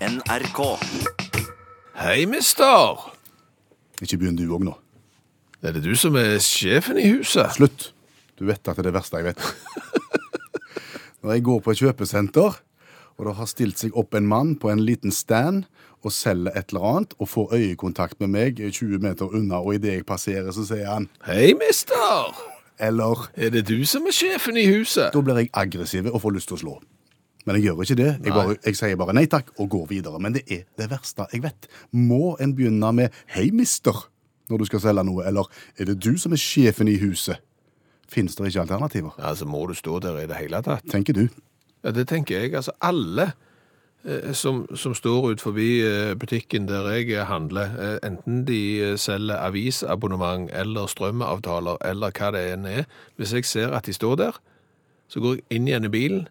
NRK. Hei, mister. Ikke begynn du òg nå. Er det du som er sjefen i huset? Slutt. Du vet at det er det verste jeg vet. Når jeg går på et kjøpesenter, og det har stilt seg opp en mann på en liten stand og selger et eller annet, og får øyekontakt med meg 20 meter unna, og idet jeg passerer, så sier han Hei, mister. eller Er det du som er sjefen i huset? Da blir jeg aggressiv og får lyst til å slå. Men jeg gjør ikke det. Jeg, bare, jeg sier bare nei takk og går videre. Men det er det verste jeg vet. Må en begynne med 'hei, mister' når du skal selge noe, eller 'er det du som er sjefen i huset'? Fins det ikke alternativer? Altså, må du stå der i det hele tatt? Tenker du. Ja, det tenker jeg. Altså, alle eh, som, som står ut forbi eh, butikken der jeg handler, eh, enten de eh, selger avisabonnement eller strømavtaler eller hva det enn er, hvis jeg ser at de står der, så går jeg inn igjen i bilen,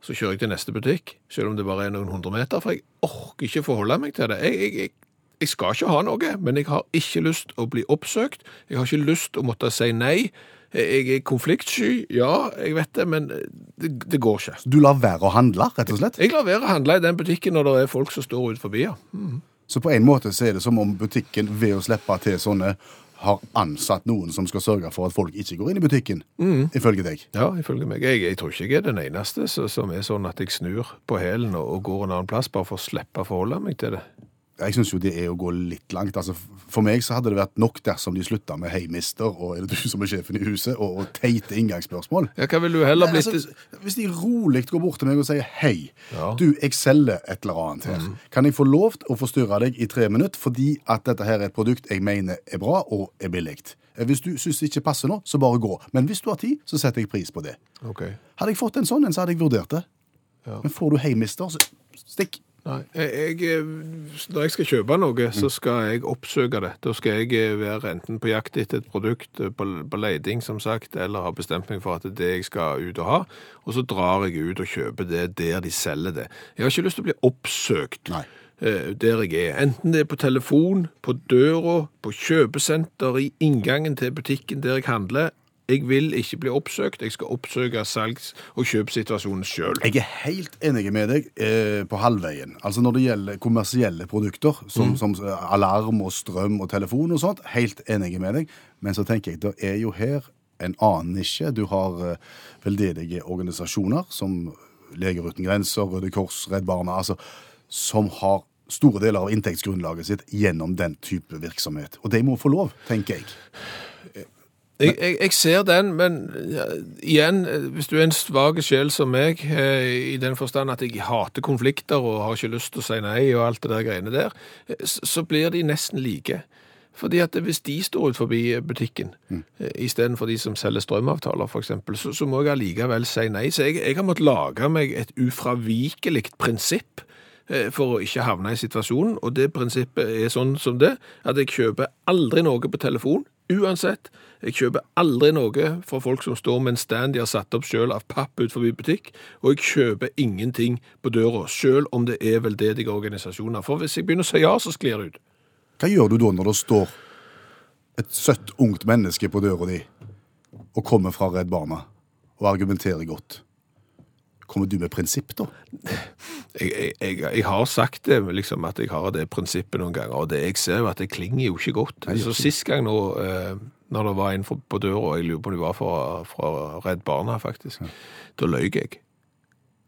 så kjører jeg til neste butikk, selv om det bare er noen hundre meter, for jeg orker ikke forholde meg til det. Jeg, jeg, jeg, jeg skal ikke ha noe, men jeg har ikke lyst å bli oppsøkt. Jeg har ikke lyst å måtte si nei. Jeg jeg er konfliktsky, ja, jeg vet det, men eh, det, det går ikke. Du lar være å handle, rett og slett? Jeg lar være å handle i den butikken når det er folk som står ut forbi. Ja. Så på en måte så er det som om butikken ved å slippe til sånne har ansatt noen som skal sørge for at folk ikke går inn i butikken, ifølge deg. ja, ifølge meg. Jeg, jeg tror ikke jeg er den eneste så- som er sånn at jeg snur på hælen og, og går en annen plass bare for å slippe å forholde meg til det. Jeg syns jo det er å gå litt langt. Altså, for meg så hadde det vært nok dersom de slutta med 'hei, mister', og 'er det du som er sjefen i huset', og, og teite inngangsspørsmål. Ja, Hva vil du heller Nei, blitt? altså, hvis de rolig går bort til meg og sier 'hei, Ja. du, jeg selger et eller annet her', kan jeg få lov til å forstyrre deg i tre minutter fordi at dette her er et produkt jeg mener er bra og er billig? Eh, Hvis du syns det ikke passer nå, så bare gå. Men hvis du har tid, så setter jeg pris på det. Ok. Hadde jeg fått en sånn en, så hadde jeg vurdert det. Men får du 'hei, mister', så stikk. Nei, jeg, jeg, eh, når jeg skal kjøpe noe, så skal jeg oppsøke det. Da skal jeg eh, være enten på jakt etter et produkt, eh, på, på leiding, som sagt, eller ha bestemt meg for at det er det jeg skal ut og ha, og så drar jeg ut og kjøper det der de selger det. Jeg har ikke lyst til å bli oppsøkt Nei. eh, der jeg er. Enten det er på telefon, på døra, på kjøpesenter, i inngangen til butikken der jeg handler. Jeg vil ikke bli oppsøkt. Jeg skal oppsøke salgs- og kjøpsituasjonen sjøl. Jeg er helt enig med deg eh, på halvveien. Altså Når det gjelder kommersielle produkter, som, som eh, alarm og strøm og telefon og sånt, helt enig med deg. Men så tenker jeg, det er jo her en annen nisje. Du har eh, veldedige organisasjoner som Leger uten grenser, Røde Kors, Redd Barna, altså, som har store deler av inntektsgrunnlaget sitt gjennom den type virksomhet. Og de må få lov, tenker jeg. Jeg, jeg, jeg ser den, men ja, igjen, eh, hvis du er en svag sjel som meg, eh, i den forstand at jeg hater konflikter og har ikke lyst til å si nei og alt det der greiene der, eh, s- så blir de nesten like. Fordi at hvis de står ut forbi butikken, eh, i stedet for de som selger strømavtaler for eksempel, så, så må jeg allikevel si nei. Så jeg, jeg har måttet lage meg et ufravikelikt prinsipp eh, for å ikke havne i situasjonen, og det prinsippet er sånn som det, at jeg kjøper aldri noe på telefon, uansett. Jeg kjøper aldri noe fra folk som står med en stand de har satt opp selv av papp ut forbi butikk, og jeg kjøper ingenting på døra, selv om det er veldedige organisasjoner. For hvis jeg begynner å si ja, så sklir det ut. Hva gjør du da når det står et søtt, ungt menneske på døra di og kommer fra Redd Barna og argumenterer godt? Kommer du med prinsipp, da? Jeg, jeg, jeg, jeg har sagt det, liksom, at jeg har det prinsippet noen ganger, og det jeg ser jo at det klinger jo ikke godt. så sist gang nå, eh, når det var en for- på døra, jeg lurer på om det var fra, fra Redd Barna faktisk, da løy jeg.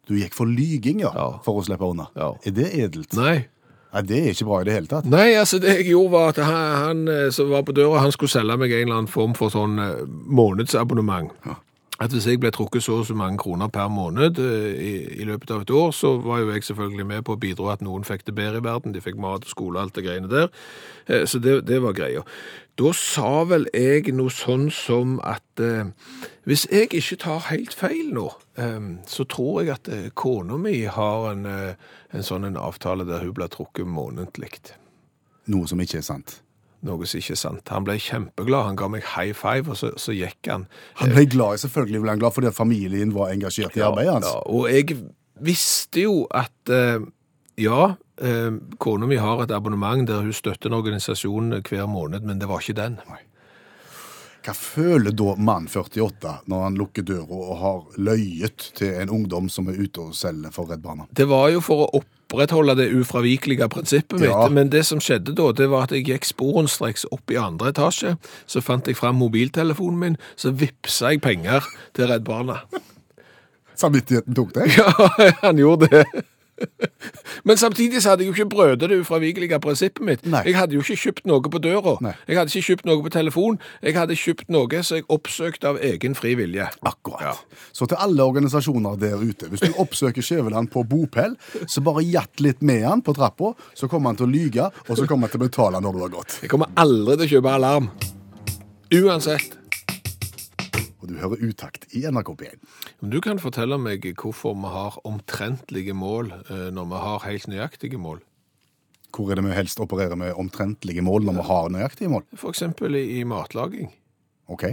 Du gikk for lyging, ja, Ja. for å slippe unna. Ja. Er det edelt? Nei, Nei, det er ikke bra i det hele tatt. Nei, altså det jeg gjorde var at han, han eh, som var på døra, han skulle selge meg en eller annen form for sånn eh, månedsabonnement. At hvis jeg ble trukket så og så mange kroner per måned eh, i, i løpet av et år, så var jo jeg selvfølgelig med på å bidra at noen fikk det bedre i verden, de fikk mat og skole og alt det greiene der. Eh, Så det, det var greia. Da sa vel jeg noe sånn som at eh, hvis jeg ikke tar helt feil nå, eh, så tror jeg at eh, kona mi har en, eh, en sånn en avtale der hun blir trukket månedlig Noe som ikke er sant. noe som ikke er sant. Han ble kjempeglad, han ga meg high five, og så, så gikk han. Han ble glad, selvfølgelig ble han glad fordi at familien var engasjert i arbeidet hans. Ja, og jeg visste jo at eh, ja, eh, kona mi har et abonnement der hun støtter en organisasjon hver måned, men det var ikke den. Hva føler da mann 48 når han lukker døra og har løyet til en ungdom som er ute og selger for Redd Barna? Det var jo for å opp opprettholde det ufravikelige prinsippet mitt. Ja. Men det som skjedde da, det var at jeg gikk sporenstreks opp i andre etasje. Så fant jeg fram mobiltelefonen min, så vippsa jeg penger til Redd Barna. Samvittigheten tok deg. Ja, han gjorde det. Men samtidig så hadde jeg jo ikke brødet det ufravikelige prinsippet mitt. Nei. Jeg hadde jo ikke kjøpt noe på døra. Nei. Jeg hadde ikke kjøpt noe på telefon. Jeg hadde kjøpt noe som jeg oppsøkte av egen fri vilje. Akkurat. Så til alle organisasjoner der ute, hvis du oppsøker Skjæveland på bopel, så bare jatt litt med han på trappa, så kommer han til å lyge, og så kommer han til å betale når du har gått. Jeg kommer aldri til å kjøpe alarm. Uansett. Og du hører utakt i NRK P1. Men Du kan fortelle meg hvorfor vi har omtrentlige mål eh, når vi har helt nøyaktige mål. Hvor er det vi helst opererer med omtrentlige mål når vi har nøyaktige mål? For eksempel i i matlaging. OK?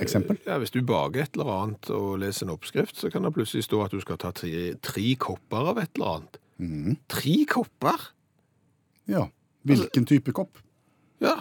Eksempel? Ja, Hvis du baker et eller annet og leser en oppskrift, så kan det plutselig stå at du skal ta tre, tre kopper av et eller annet. Tre kopper? Mhm. Ja. Hvilken type kopp? Ja.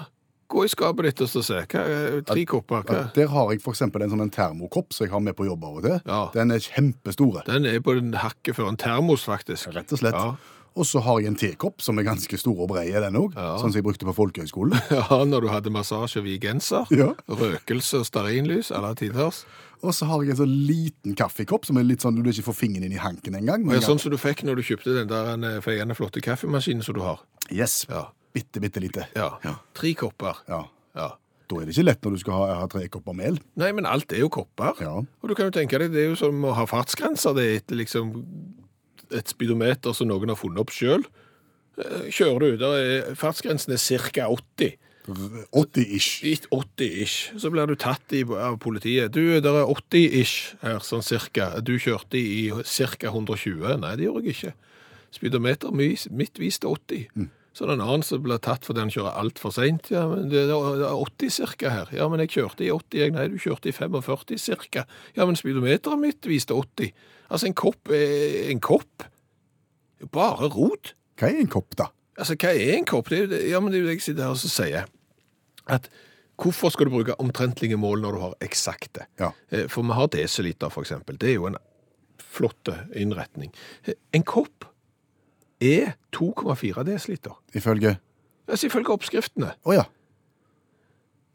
Gå i skapet ditt og så se. Hva, er tre kopper, hva? Der har jeg for eksempel en sånn en termokopp som jeg har med på jobb av og til. Ja. Den er kjempestore. Den er på den hakket før en termos, faktisk. Rett og slett. Ja. Og så har jeg en tekopp som er ganske stor og brei, den òg. Ja. Sånn som jeg brukte på folkehøgskolen. Ja, når du hadde massasje og vigenser. Ja. Røkelse og stearinlys alle tiders. Og så har jeg en sånn liten kaffekopp som er litt sånn du ikke får fingeren inn i hanken engang. Ja, sånn som du fikk når du kjøpte den der eh, feiende flotte kaffemaskinen som du har. Yes. Ja. Bitte, bitte lite. ja. Tre kopper. Ja. Ja. Da er det ikke lett når du skal ha, ha tre kopper mel. Nei, men alt er jo kopper. Ja. Og du kan jo tenke deg, det er jo som å ha fartsgrenser. Det er et, liksom, et speedometer som noen har funnet opp sjøl. Kjører du, der er, fartsgrensen er ca. 80. 80-ish. 80-ish. Så blir du tatt i, av politiet. Du, der er 80-ish her, sånn cirka. Du kjørte i ca. 120. Nei, det gjorde jeg ikke. Speedometer mis- mitt viste 80. Så er det en annen som blir tatt fordi han kjører altfor seint. Ja, men det er det er 80 ca. her. Ja, men jeg kjørte i 80. Jeg, nei, du kjørte i 45 ca. Ja, men speedometeret mitt viste 80. Altså, en kopp er en kopp. Det er jo Bare rot. Hva er en kopp, da? Altså, hva er en kopp? Det er jo det, ja, men det er jo det jeg sitter her og så sier. At hvorfor skal du bruke omtrentlige mål når du har eksakte? Ja. Eh, For vi har desiliter, for eksempel. Det er jo en flott innretning. Eh, En kopp er 2,4 desiliter. Ifølge Altså, ifølge oppskriftene. Å ja.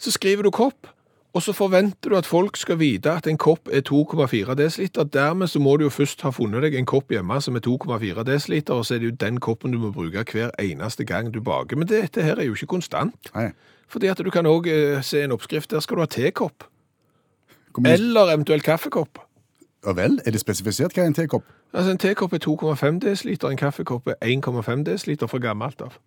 Så skriver du kopp, og så forventer du at folk skal vite at en kopp er 2,4 desiliter. Dermed så må du jo først ha funnet deg en kopp hjemme som er 2,4 desiliter, og så er det jo den koppen du må bruke hver eneste gang du baker. Men dette her er jo ikke konstant. Nei. Fordi at du kan òg se en oppskrift. Der skal du ha tekopp. Hvor mye- Eller eventuelt kaffekopp. Ja vel? Er det spesifisert hva er en tekopp? Altså En tekopp er 2,5 desiliter, en kaffekopp er 1,5 desiliter fra gammelt av.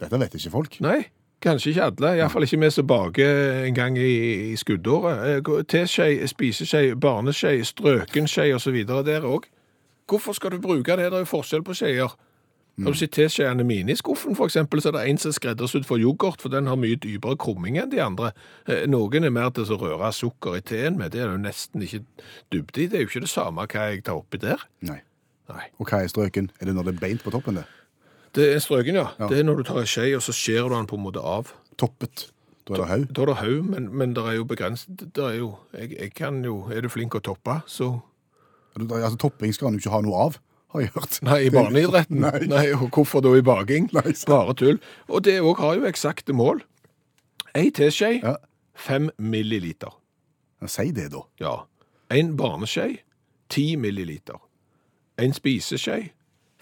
Dette vet ikke folk. Nei, kanskje ikke alle. Iallfall ikke vi som baker en gang i, i skuddåret. Eh, gå- Teskje, spiseskje, barneskje, strøkenskje osv. der òg. Hvorfor skal du bruke det? Det er jo forskjell på skjeer. Har du sett teskjeene mine i skuffen, for eksempel, så er det en som er skreddersydd for yoghurt, for den har mye dypere krumming enn de andre. Eh, Noen er mer til å røre sukker i teen med, det er det jo nesten ikke dybde i. Det er jo ikke det samme hva jeg tar oppi der. Nei. Nei. Og hva er strøken? Er det når det er beint på toppen? det? Det er strøken, ja. Ja. Det er når du tar en skje, og så skjærer du den på en måte av. Toppet. Da er det haug. Da er det haug, men, men det er jo begrenset det er jo, jeg, jeg kan jo Er du flink å toppe, så Altså, topping skal han jo ikke ha noe av, har jeg hørt. Nei, i barneidretten. Nei. og hvorfor da i baking? Nei, sant. Bare tull. Og det òg har jo eksakte mål. Ei teskje, Ja. fem milliliter. Ja, Si det, da. Ja. En barneskje, ti milliliter. En spiseskje,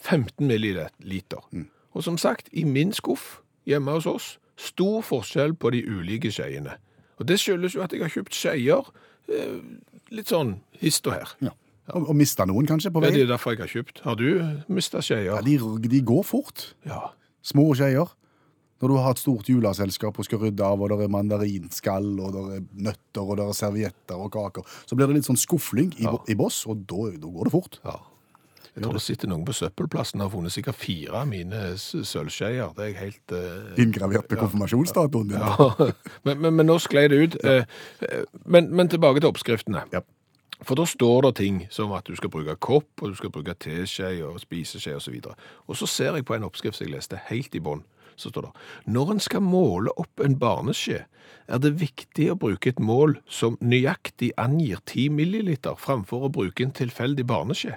15 milliliter. Mm. Og som sagt, i min skuff hjemme hos oss, stor forskjell på de ulike skjeiene. Og det skyldes jo at jeg har kjøpt skjeier eh, litt sånn hist og her. Ja. Og, og mista noen, kanskje, på Ja, det veien? er derfor jeg har kjøpt. Har du mista Ja, skjeier? de, de går fort. Ja. små skeier. Når du har et stort juleselskap og skal rydde av, og det er mandarinskall, og det er nøtter, og det er servietter og kaker, så blir det litt sånn skuffling i, bo- i boss, og da, da går det fort. ja. Jeg tror det sitter noen på søppelplassen og har funnet sikkert fire av mine s- sølvskjeier. Det er jeg helt eh, Inngravert med konfirmasjonsdatoen din. men, men, men nå sklei det ut. Eh, eh, Men, men tilbake til oppskriftene. Ja. For da står det ting som at du skal bruke kopp, og du skal bruke teskje og spiseskje osv. Og, så og så ser jeg på en oppskrift som jeg leste helt i bånn. Så står det når en skal måle opp en barneskje, er det viktig å bruke et mål som nøyaktig angir 10 milliliter, framfor å bruke en tilfeldig barneskje.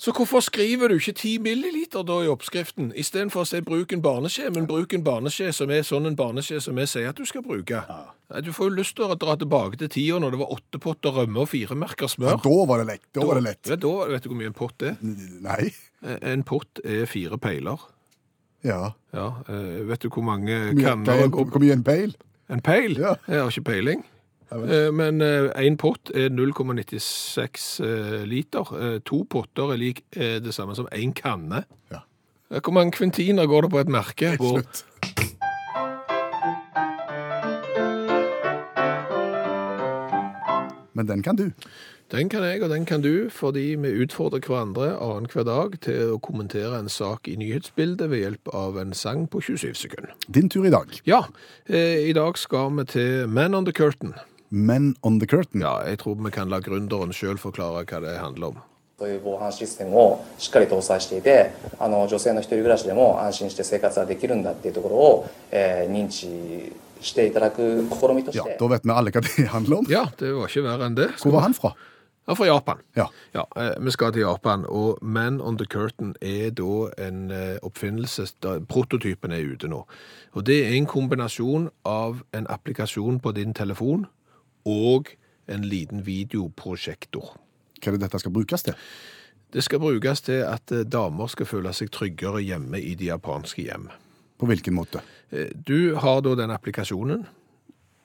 Så hvorfor skriver du ikke 10 milliliter da i oppskriften, istedenfor å si 'bruk en barneskje', men 'bruk en barneskje som er sånn en barneskje som vi sier at du skal bruke'? Nei, Du får jo lyst til å dra tilbake til tida når det var åtte potter rømme og fire merker smør. Da var det lett. Da var det lett. Ja, da Vet du hvor mye en pott er? Nei. En pott er fire peiler. Ja. Ja, eh, Vet du hvor mange Hvor mye- kanner og Hvor mye en peil? En peil? Ja. Jeg har ikke peiling. Eh, Men én pott er 0,96 eh, liter. Eh, To potter er lik eh, det samme som én kanne. Ja. Eh, Hvor mange kvintiner går det på et merke? Hvor, Slutt. Men den kan du. den kan jeg, og den kan du, fordi vi utfordrer hverandre annenhver dag til å kommentere en sak i nyhetsbildet ved hjelp av en sang på 27 sekunder. Din tur i dag. Ja, eh, i dag skal vi til Man on the Curtain. Men on the curtain. Ja, jeg tror vi kan la gründeren sjøl forklare hva det handler om. という防犯システムをしっかり搭載していてあの女性の一人暮らしでも安心して生活ができるんだっていうところを、えー認知していただく試みとし Ja, て Da vet vi alle hva det handler om. Ja, det var ikke verre enn det. Hvor var han fra? Ja, fra Japan. Ja. Ja, eh, Vi skal til Japan, og Man on the Curtain er da en eh, oppfinnelse da Prototypen er ute nå. Og Det er en kombinasjon av en applikasjon på din telefon og en liten videoprosjektor. Hva er det dette skal brukes til? Det skal brukes til at eh, damer skal føle seg tryggere hjemme i de japanske hjem. På hvilken måte? Eh, Du har da den applikasjonen,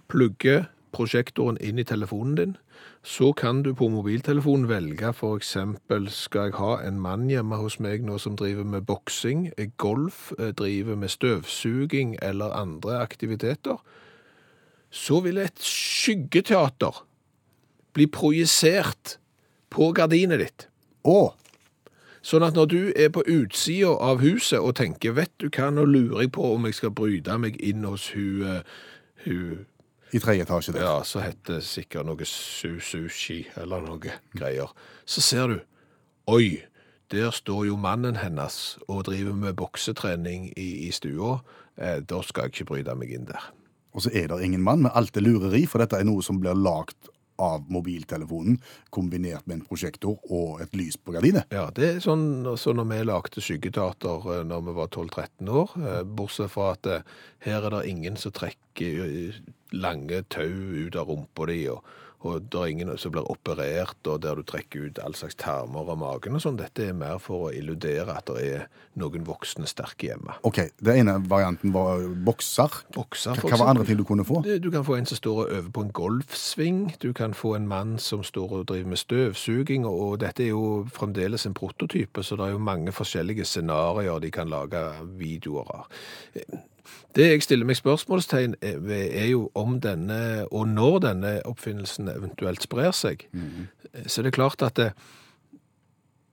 plugger prosjektoren inn i telefonen din, så kan du på mobiltelefonen velge for eksempel, skal jeg ha en mann hjemme hos meg nå som driver med boksing, eh, golf, eh, driver med støvsuging eller andre aktiviteter, så vil et skyggeteater bli projisert på gardinet ditt. Å, Sånn at når du er på utsida av huset og tenker 'vet du hva, nå lurer jeg på om jeg skal bryte meg inn hos hun eh, hun i tredje etasje der. Ja, så heter det sikkert noe su- sushi eller noe greier. Så ser du Oi, der står jo mannen hennes og driver med boksetrening i, i stua. Eh, da skal jeg ikke bryte meg inn der. Og så er det ingen mann, men alt er lureri, for dette er noe som blir lagd av mobiltelefonen, kombinert med en prosjektor og et lys på gardinet. Ja, det er sånn så når vi lagde skyggeteater eh, når vi var 12-13 år, eh, bortsett fra at eh, her er det ingen som trekker eh, lange tau ut av rumpa di, og, og det er ingen som blir operert, og der du trekker ut all slags tarmer av magen og sånn. Dette er mer for å illudere at det er noen voksne sterke hjemme. Ok, det ene varianten var bokser. Bokser, Hva for hva var andre eksempel. ting du kunne få? Du du kan få en som står og øver på en golfsving, du kan få en mann som står og driver med støvsuging, og- og dette er jo fremdeles en prototype, så det er jo mange forskjellige scenarier de kan lage videoer av. Det jeg stiller meg spørsmålstegn ved, er jo om denne, og når denne oppfinnelsen eventuelt sprer seg. Mm. Så det er klart at det,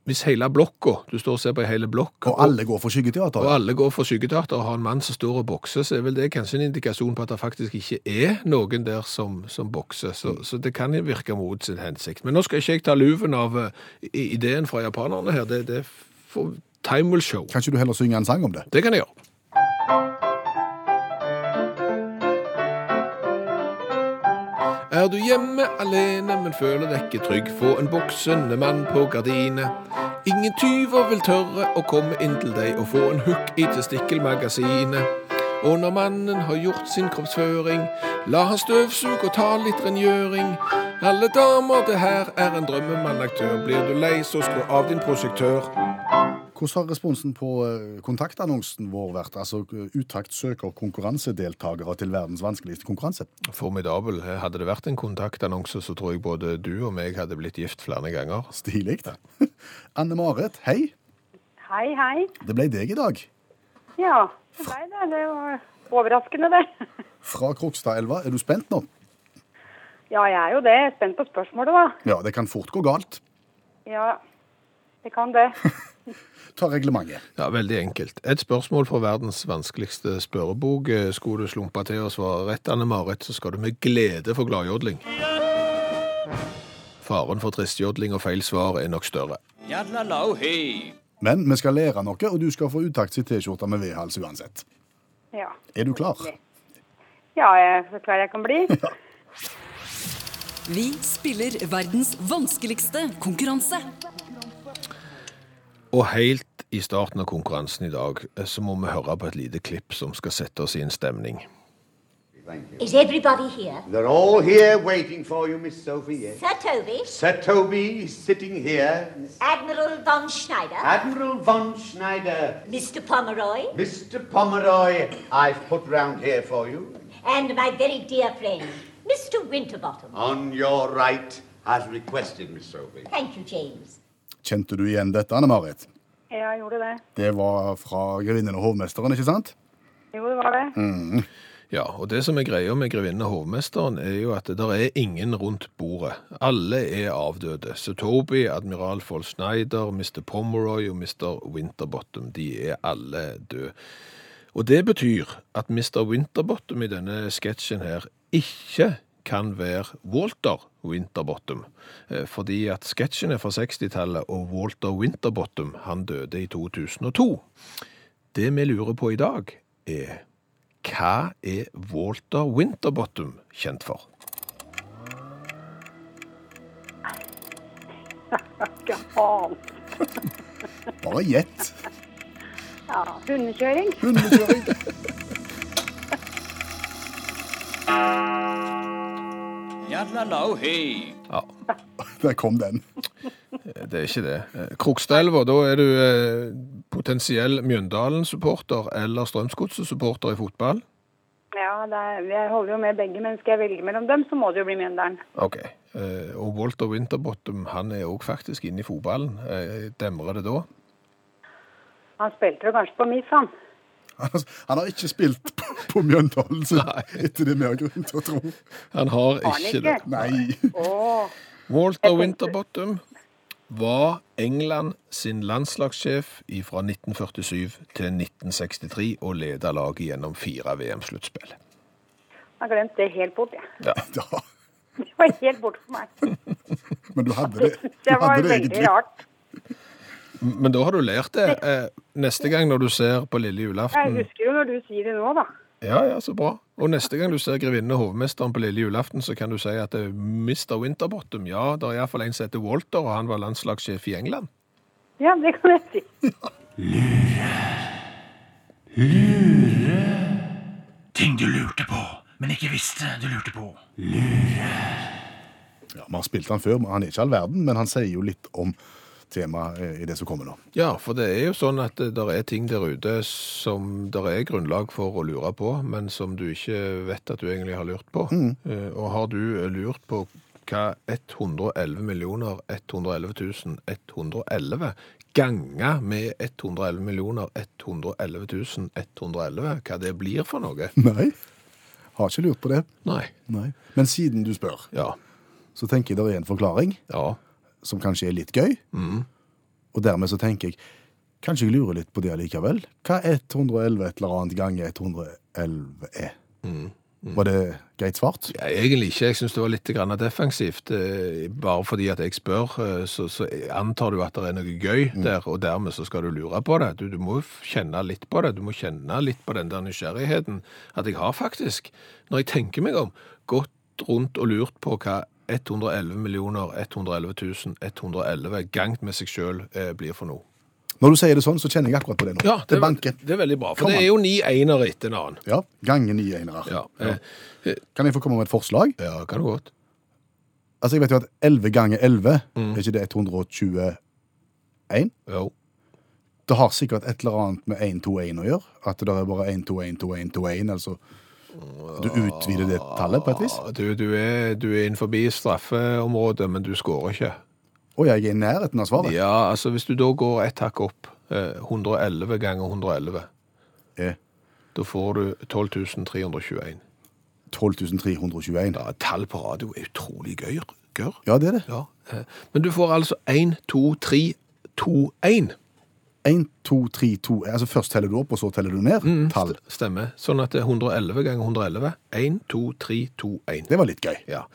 hvis hele blokka, du står og ser på en hele blokk, Og alle går for skyggeteater. og alle går for skyggeteater og har en mann som står og bokser, så er vel det kanskje en indikasjon på at det faktisk ikke er noen der som, som bokser. Så, så det kan jo virke mot sin hensikt. Men nå skal ikke jeg ta luven av eh, i- ideen fra japanerne her. Det, det får time will show. Kan ikke du heller synge en sang om det? Det kan jeg gjøre. Er du hjemme alene, men føler deg ikke trygg, få en boksende mann på gardinet. Ingen tyver vil tørre å komme inn til deg og få en hook i testikkelmagasinet. Og når mannen har gjort sin kroppsføring, la han støvsuge og ta litt rengjøring. Alle damer, det her er en drømmemannaktør. Blir du lei, så slå av din prosjektør. Hvordan har responsen på eh, kontaktannonsen vår vært? Altså, eh, Utakt søker konkurransedeltakere til verdens vanskeligste konkurranse. Formidabel. Hadde det vært en kontaktannonse, så tror jeg både du og meg hadde blitt gift flere ganger. Stilig. Anne Marit, hei. Hei, hei. Det ble deg i dag. Ja, det ble det. Det var overraskende, det. Fra Krokstadelva. Er du spent nå? Ja, jeg er jo det. Jeg er Spent på spørsmålet, da. Ja, det kan fort gå galt. Ja, jeg kan det. Ta reglementet. Ja, Veldig enkelt. Et spørsmål fra verdens vanskeligste spørrebok. Eh, Skulle du slumpe til å svare rett, Anne Marit, så skal du med glede få gladjodling. Faren for tristjodling og feil svar er nok større. Yalla lo hei. Men vi skal lære noe, og du skal få Utakt sin T-skjorte med V-hals uansett. Ja, Er du klar? ja jeg er så klar jeg kan bli. Vi spiller verdens vanskeligste konkurranse. Og helt i starten av konkurransen i dag eh, så må vi høre på et lite klipp som skal sette oss i en stemning. Is everybody here? They're all here waiting for you, Miss Sophie. Yes. Sir Toby, Sir Toby is sitting here. Admiral von Schneider, Admiral von Schneider, Mr. Pomeroy, Mr. Pomeroy, I've put round here for you. and my very dear friend, Mr. Winterbottom. On your right, as requested, Miss Sophie. Thank you, James. Kjente du igjen dette, Anne Marit? Jeg gjorde det. Det var fra 'Grevinnen og hovmesteren', ikke sant? Jo, det var det. Mm. Ja, og det som er greia med grevinnen og hovmesteren, er jo at det der er ingen rundt bordet. Alle er avdøde. Så Toby, admiral Foll Schneider, Mr. Pomeroy og Mr. Winterbottom, de er alle døde. Og det betyr at Mr. Winterbottom i denne sketsjen her ikke kan være Walter Winterbottom, eh, fordi at sketsjen er fra 60-tallet, og Walter Winterbottom, han døde i 2002. Det vi lurer på i dag er hva er Walter Winterbottom kjent for? Ikke faen. Bare gjett. Ja, hundekjøring. Hundekjøring. Jadlalau hei. Ja, Der kom den. det er ikke det. Eh, Krokstadelva, da er du eh, potensiell Mjøndalen-supporter eller Strømsgodset-supporter i fotball? Ja, det er, jeg holder jo med begge, men skal jeg velge mellom dem, så må det jo bli Mjøndalen. Ok. Eh, Og Walter Winterbottom, han er òg faktisk inne i fotballen. Eh, Demrer det da? Han spilte jo kanskje på MIF, han. Han har- han har ikke spilt på, på Mjøndalen sin, etter det vi har grunn til å tro. Han har Har han ikke det. ikke? Nei. Åh, Walter Winterbottom var England sin landslagssjef fra 1947 til 1963 og leda laget gjennom fire VM-sluttspill. jeg har glemt det helt bort, jeg. Ja. Det var helt bort for meg. Men du hadde det. Du Det var hadde det veldig egentlig. rart. Men da har du lært det. Eh, Neste gang når du ser på lille Jeg Mm. julaften husker jo når du sier det nå, da. Ja, ja, så bra. Og neste gang du ser grevinnen og hovmesteren på lille julaften, så kan du si at det er Mr. Winterbottom. Ja, det er iallfall en som heter Walter, og han var landslagssjef i England. Ja, det kan jeg si. Ting du lurte på, men ikke visste du lurte på. Ja, Vi har spilt han før, men han er ikke all verden, men han sier jo litt om temaet eh, i det som kommer nå. Ja, for det er jo sånn at det der er ting der ute som det er grunnlag for å lure på, men som du ikke vet at du egentlig har lurt på. Eh, Og har du lurt på hva 111 millioner 111 000 111 ganger med 111 millioner 111 000 111, hva det blir for noe? Nei, har ikke lurt på det. Nei. Nei. Men siden du spør, Ja. så tenker jeg det er en forklaring Ja. som kanskje er litt gøy. Mm. Og dermed så tenker jeg kanskje jeg lurer litt på det allikevel. Hva 111 et eller annet ganger 111 er? Var det greit svart? Mm. Ja, Egentlig ikke. Jeg syns det var litt grann defensivt. eh, Bare fordi at jeg spør, eh, så, så antar du at det er noe gøy der, og dermed så skal du lure på det. Du, du må jo f- kjenne litt på det. Du må kjenne litt på den der nysgjerrigheten. At jeg har faktisk, når jeg tenker meg om, gått rundt og lurt på hva 111 millioner 111 000 111 gangt med seg sjøl blir for noe. Når du sier det sånn, så kjenner jeg akkurat på det nå. Ja, det det, er- banker. det er veldig bra. For Kom det er an. jo ni enere etter en annen. Ja, ganger ni enere. Ja, eh, Kan jeg få komme med et forslag? ja kan du godt. Altså, jeg vet jo at 11 ganger 11, Mm. er ikke det 121? Jo. Det har sikkert et eller annet med 1-2-1 å gjøre. At det er bare 1-2-1-2-1-2-1, altså. Du utvider det tallet på et vis. Ja, Du, du, er, du er innenfor straffeområdet, men du skårer ikke. Og jeg er i nærheten av svaret. Ja, altså Hvis du da går ett hakk opp, eh, 111 ganger 111, Er da får du 12.321. 12.321. Ja, tall på radio er utrolig gøy. gørr. Ja, det er det. Ja. eh, Men du får altså 1, 2, 3, 2, 1. 1, 2, 3, 2. Altså først teller du opp, og så teller du ned. Mm. Tall. Stemmer. Sånn at det er 111 ganger 111. 1, 2, 3, 2, 1. Det var litt gøy. Ja.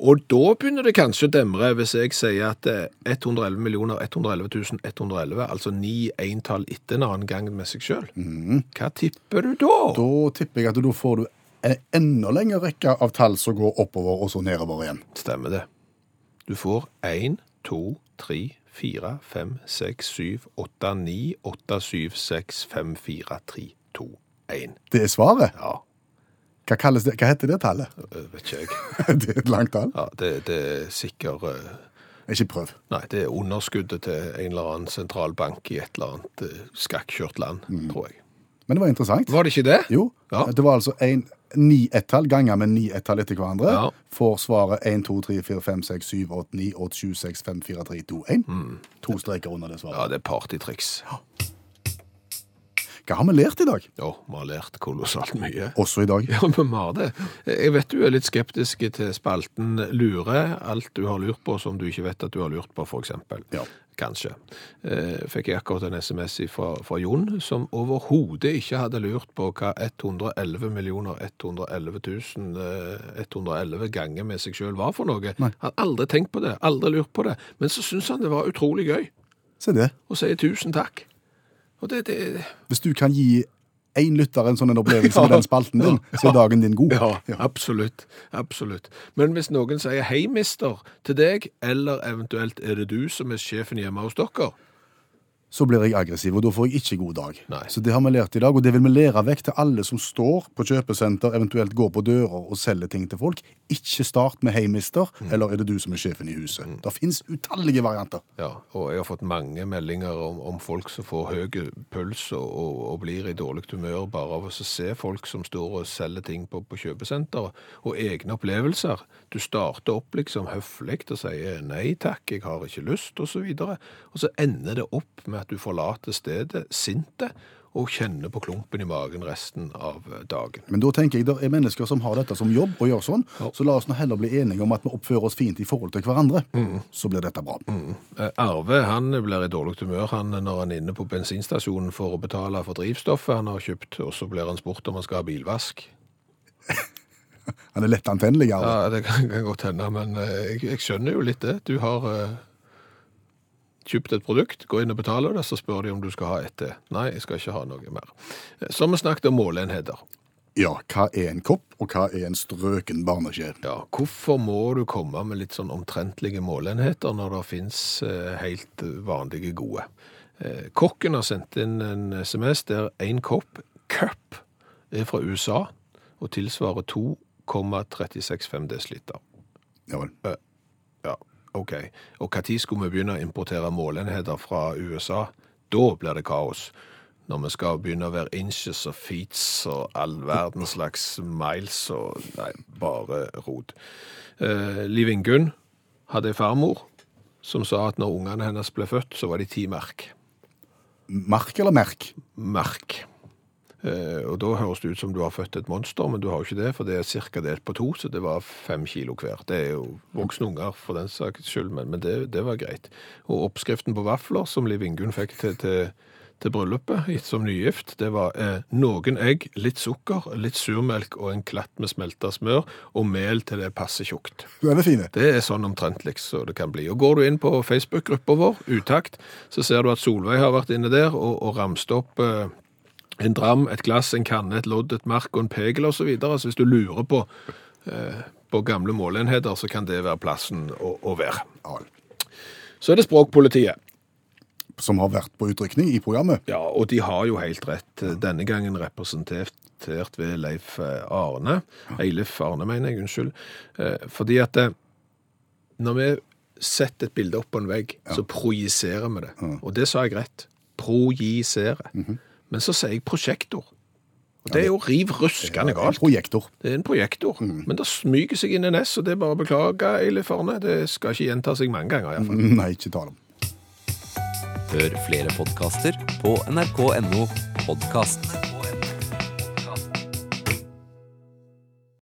Og da begynner det kanskje å demre hvis jeg sier at eh, 111 millioner 111 111, altså ni entall etter en annen gang med seg sjøl. Hva tipper du da? Da tipper jeg at da får du en enda lengre rekke av tall som går oppover, og så nedover igjen. Stemmer det. Du får 1, 2, 3, fire, fem, seks, syv, åtte, ni, åtte, syv, seks, fem, fire, tre, to, én. Det er svaret. Ja, Hva, kalles det? Hva heter det tallet? øh, vet ikke jeg. det er et langt tall. Ja, det, det er sikkert øh, Ikke prøv. Nei, det er underskuddet til en eller annen sentralbank i et eller annet øh, skakkjørt land, tror jeg. Men det var interessant. Var det ikke det? Jo, Ja. det var altså en ni ett-tall ganger med ni ett-tall etter hverandre. Ja. Får svaret 1, 2, 3, 4, 5, 6, 7, 8, 9, 8, 7, 6, 5, 4, 3, 2, 1. To streker under det Mm. Ja, svaret. det er partytriks. Hva har vi lært i dag? Ja, vi har lært kolossalt mye. Også i dag. Ja, men vi har det. Jeg vet du er litt skeptisk til spalten Lure. Alt du har lurt på som du ikke vet at du har lurt på, for eksempel. Ja. Kanskje. Eh, Fikk jeg akkurat en SMS fra, fra Jon, som overhodet ikke hadde lurt på hva 111 millioner 111 000 eh, 111 ganger med seg sjøl var for noe. Han hadde aldri tenkt på det, aldri lurt på det. Men så syntes han det var utrolig gøy, Se det. og sier tusen takk. Og det, det Hvis du kan gi én lytter en sånn en opplevelse med den spalten din, så er dagen din god. Ja, absolutt. absolutt. Men hvis noen sier 'hei, mister' til deg, eller eventuelt 'er det du som er sjefen hjemme hos dere', Så blir jeg aggressiv, og da får jeg ikke god dag. Nei. Så det har vi lært i dag, og det vil vi lære vekk til alle som står på kjøpesenter, eventuelt går på dører og selger ting til folk. Ikke start med 'hei, mister', Mm. eller 'er det du som er sjefen i huset'? Det fins utallige varianter. ja, og jeg har fått mange meldinger om, om folk som får høy puls og, og, og blir i dårlig humør bare av å se folk som står og selger ting på, på kjøpesenteret, og egne opplevelser. Du starter opp liksom høflig og sier 'nei takk, jeg har ikke lyst', osv., og, og så ender det opp med at du forlater stedet sinte. Og kjenner på klumpen i magen resten av dagen. Men da tenker jeg det er mennesker som har dette som jobb og gjør sånn, så la oss nå heller bli enige om at vi oppfører oss fint i forhold til hverandre. Mm. Så blir dette bra. Eh, Arve han blir i dårlig humør han, når han er inne på bensinstasjonen for å betale for drivstoffet han har kjøpt, og så blir han spurt om han skal ha bilvask. Han er lett antennelig. Arve. Ja, Det kan, kan godt hende, men eh, jeg, jeg skjønner jo litt det. Du har eh, kjøpt et produkt, går inn og betaler det, så spør de om du skal ha et til. Nei, jeg skal ikke ha noe mer. Eh, Så har vi snakket om måleenheter. Ja, hva er en kopp, og hva er en strøken barneskje? Ja, hvorfor må du komme med litt sånn omtrentlige målenheter når det finnes eh, helt vanlige gode? Eh, kokken har sendt inn en sms der en kopp, cup, er fra USA og tilsvarer 2,365 desiliter. Ja vel. Ja, ok. Og hva tid skulle vi begynne å importere målenheter fra USA? Da blir det kaos. Når vi skal begynne å være inches og feets og all verdens slags miles og Nei, bare rot. Eh, Liv Ingunn hadde ei farmor som sa at når ungene hennes ble født, så var de ti merk. Mark eller merk? Merk. Eh, og da høres det ut som du har født et monster, men du har jo ikke det, for det er cirka delt på to, så det var fem kilo hver. Det er jo voksne unger for den saks skyld, men, men det, det var greit. Og oppskriften på vafler som Liv Ingunn fikk til, til, til bryllupet gitt som nygift, det var eh, noen egg, litt sukker, litt surmelk og en klatt med smelta smør, og mel til det passer tjukt. Den er fin. Det er sånn omtrentlig så det kan bli. Og Går du inn på Facebook-gruppa vår, Utakt, så ser du at Solveig har vært inne der og, og ramst opp eh, en dram, et glass, en kanne, et lodd, et mark og en pegel osv. Så, videre. så hvis du lurer på, eh, på gamle måleenheter, så kan det være plassen å, å være. Ja, vel. Så er det språkpolitiet. Som har vært på utrykning i programmet. Ja, og de har jo helt rett. Denne gangen representert ved Leif eh, Arne. Eilif Arne, mener jeg. Unnskyld. Eh, Fordi at eh, når vi setter et bilde opp på en vegg, så projiserer vi det. Og det sa jeg rett. Projisere. Men så sier jeg prosjektor. Og Mhm. det er jo riv ruskende galt. Mhm. Projektor. Det er en projektor, men det smyger seg inn en S, og det er bare å beklage, Eilif Arne. Det skal ikke gjenta seg mange ganger, iallfall. Nei, ikke tale om. Hør flere podkaster på nrk.no podkast.